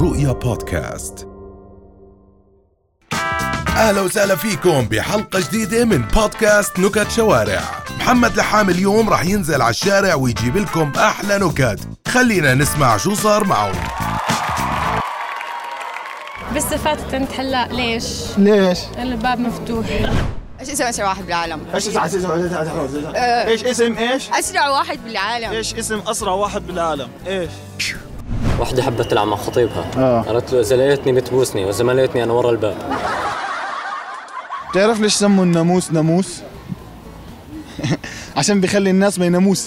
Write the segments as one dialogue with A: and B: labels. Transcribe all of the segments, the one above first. A: رؤيا بودكاست اهلا وسهلا فيكم بحلقة جديدة من بودكاست نكت شوارع محمد لحام اليوم راح ينزل على الشارع ويجيب لكم احلى نكت خلينا نسمع شو صار معه
B: بس فاتت انت هلا ليش؟
C: ليش؟
B: الباب مفتوح
D: ايش اسم اسرع واحد بالعالم؟
C: ايش اسم ايش اسم ايش؟
D: اسرع واحد بالعالم
E: ايش اسم اسرع واحد بالعالم؟ ايش؟
F: وحده حبت تلعب مع خطيبها
C: آه.
F: قالت له اذا لقيتني بتبوسني واذا ما لقيتني انا ورا الباب
C: بتعرف ليش سموا الناموس ناموس؟ عشان بيخلي الناس ما يناموش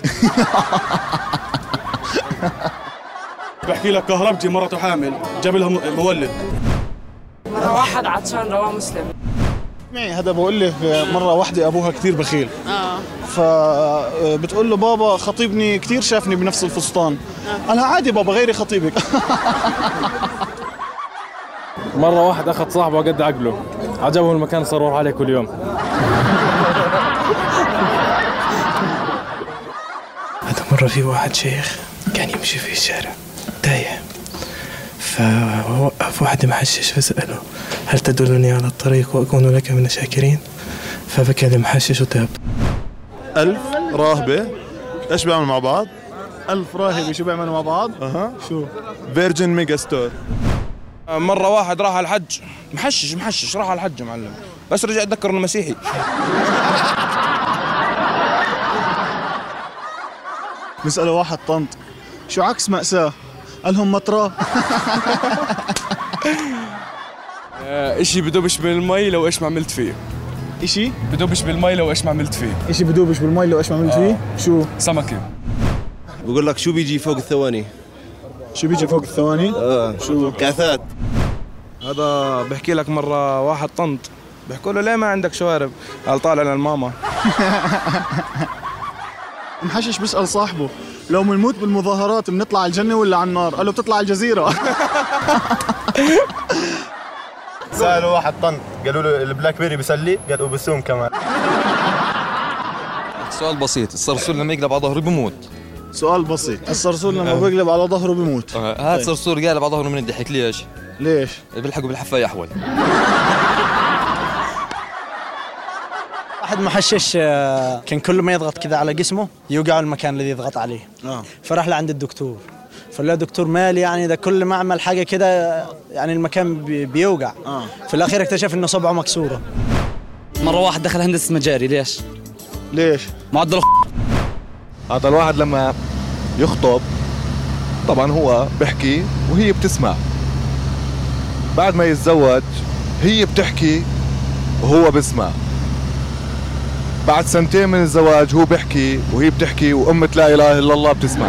G: بحكي لك كهربتي مرته حامل جاب لها م- مولد
H: واحد عطشان رواه مسلم
C: اسمعي هذا بقول لك مره واحده ابوها كثير بخيل
D: اه
C: فبتقول له بابا خطيبني كثير شافني بنفس الفستان قالها عادي بابا غيري خطيبك
I: مرة واحد أخذ صاحبه قد عقله عجبه المكان صار يروح عليه كل يوم
J: هذا مرة في واحد شيخ كان يمشي في الشارع تايه فوقف واحد محشش فسأله هل تدلني على الطريق وأكون لك من الشاكرين فبكى المحشش وتاب
C: ألف راهبة ايش بيعملوا مع بعض؟ آه. ألف راهبة شو بيعملوا مع بعض؟ اها شو؟ فيرجن ميجا ستور
G: مرة واحد راح على الحج محشش محشش راح على الحج يا معلم بس رجع اتذكر انه مسيحي
C: نسأله واحد طنط شو عكس مأساة؟ قال لهم مطراه
G: اشي بدوبش بالمي لو ايش ما عملت فيه
C: إشي؟
G: بدوبش بالمي لو ايش ما عملت فيه
C: إشي بدوبش بالمي لو إيش ما عملت فيه؟ شو؟
G: سمكة
E: بقول لك شو بيجي فوق الثواني؟
C: شو بيجي فوق الثواني؟
E: اه شو؟ كعثات
G: هذا بحكي لك مرة واحد طنط بحكوا له ليه ما عندك شوارب؟ قال طالع للماما
C: محشش بيسأل صاحبه لو بنموت بالمظاهرات بنطلع على الجنة ولا على النار؟ قال له بتطلع على الجزيرة
E: سألوا واحد طنط قالوا له البلاك بيري بيسلي قال وبسوم كمان
G: سؤال بسيط الصرصور لما يقلب على ظهره بموت
C: سؤال بسيط الصرصور لما بيقلب على ظهره بيموت
G: آه،
C: طيب.
G: هذا صرصور قالب على ظهره من الضحك ليش؟
C: ليش؟
G: بيلحقوا بالحفاية احول
K: واحد محشش آه، كان كل ما يضغط كذا على جسمه يوقع المكان الذي يضغط عليه
C: آه.
K: فراح لعند الدكتور فقال له دكتور مالي يعني ده كل ما اعمل حاجه كده آه، يعني المكان بي- بيوجع
C: آه.
K: في الاخير اكتشف انه صبعه مكسوره
H: مرة واحد دخل هندسة مجاري ليش؟
C: ليش؟
H: معدل
G: هذا الواحد لما يخطب طبعا هو بحكي وهي بتسمع بعد ما يتزوج هي بتحكي وهو بسمع بعد سنتين من الزواج هو بحكي وهي بتحكي وأمة لا إله إلا الله بتسمع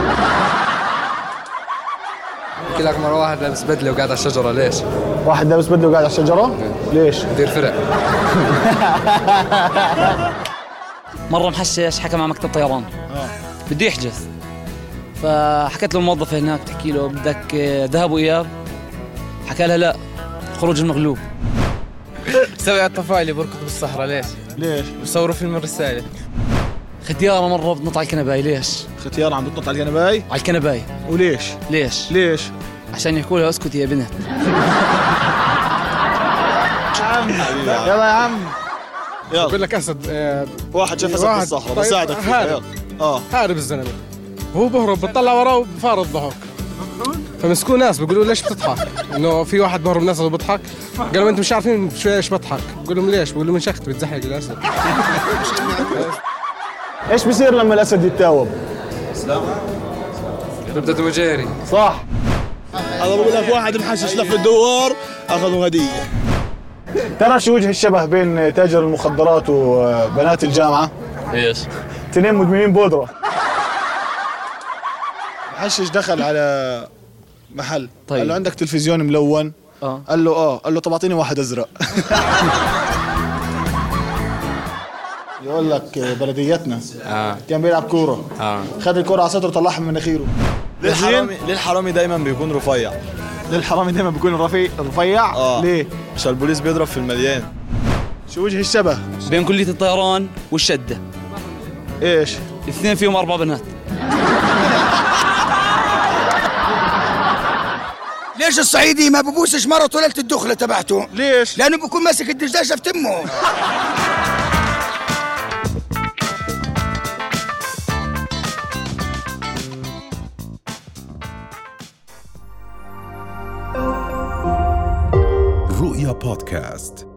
J: بحكي لك مرة واحد لابس بدلة وقاعد على الشجرة ليش؟
C: واحد لابس بدله وقاعد على الشجرة؟ ليش؟
J: دير فرق
H: مرة محشش حكى مع مكتب طيران
J: آه.
H: بده يحجز فحكت له الموظفة هناك تحكي له بدك آه، ذهب وإياب حكى لها لا خروج المغلوب
J: سبع طفايلي بركض بالصحراء ليش؟
C: ليش؟
J: بصوروا فيلم الرسالة
H: ختيارة مرة بتنط على الكنباي ليش؟
C: ختيار عم بتنط على الجنباي
H: على الكنباي
C: وليش؟
H: ليش؟
C: ليش؟
H: عشان يحكوا لها اسكت يا بنت
C: يلا يا عم يلا
I: لك أسد آه،
C: واحد شاف اسد
I: واحد.
C: بالصحراء
I: طيب،
C: بساعدك فيها
I: هذا.
C: يلا
E: آه.
C: اه
I: هارب الزلمة هو بهرب بتطلع وراه وبفارض ضحك فمسكوه ناس بيقولوا ليش بتضحك؟ انه في واحد بهرب من اسد وبضحك قالوا انتم مش عارفين شو ايش بضحك بقول لهم ليش؟ بقول لهم انشخت بتزحلق الاسد
C: ايش بصير لما الاسد يتاوب؟
J: ببدأ وجيري
C: صح هذا بقول لك واحد محشش لف الدوار اخذوا هديه تعرف شو وجه الشبه بين تاجر المخدرات وبنات الجامعه؟
F: ايش؟
C: اثنين مدمنين بودره محشش دخل على محل طيب. قال له عندك تلفزيون ملون
H: آه.
C: قال له اه قال له طب اعطيني واحد ازرق يقول لك بلديتنا آه. كان بيلعب كوره آه. خد الكوره على صدره طلعها من مناخيره
E: للحرامي للحرامي دايما بيكون رفيع
C: للحرامي دايما بيكون رفيع رفيع
E: آه.
C: ليه؟
E: عشان البوليس بيضرب في المليان
C: شو وجه الشبه؟
H: بين كلية الطيران والشدة
C: ايش؟
H: الاثنين فيهم أربع بنات
G: الدرداش الصعيدي ما ببوسش مرته ليله الدخله تبعته ليش؟ لانه بيكون ماسك الدرداشه في تمه
A: رؤيا بودكاست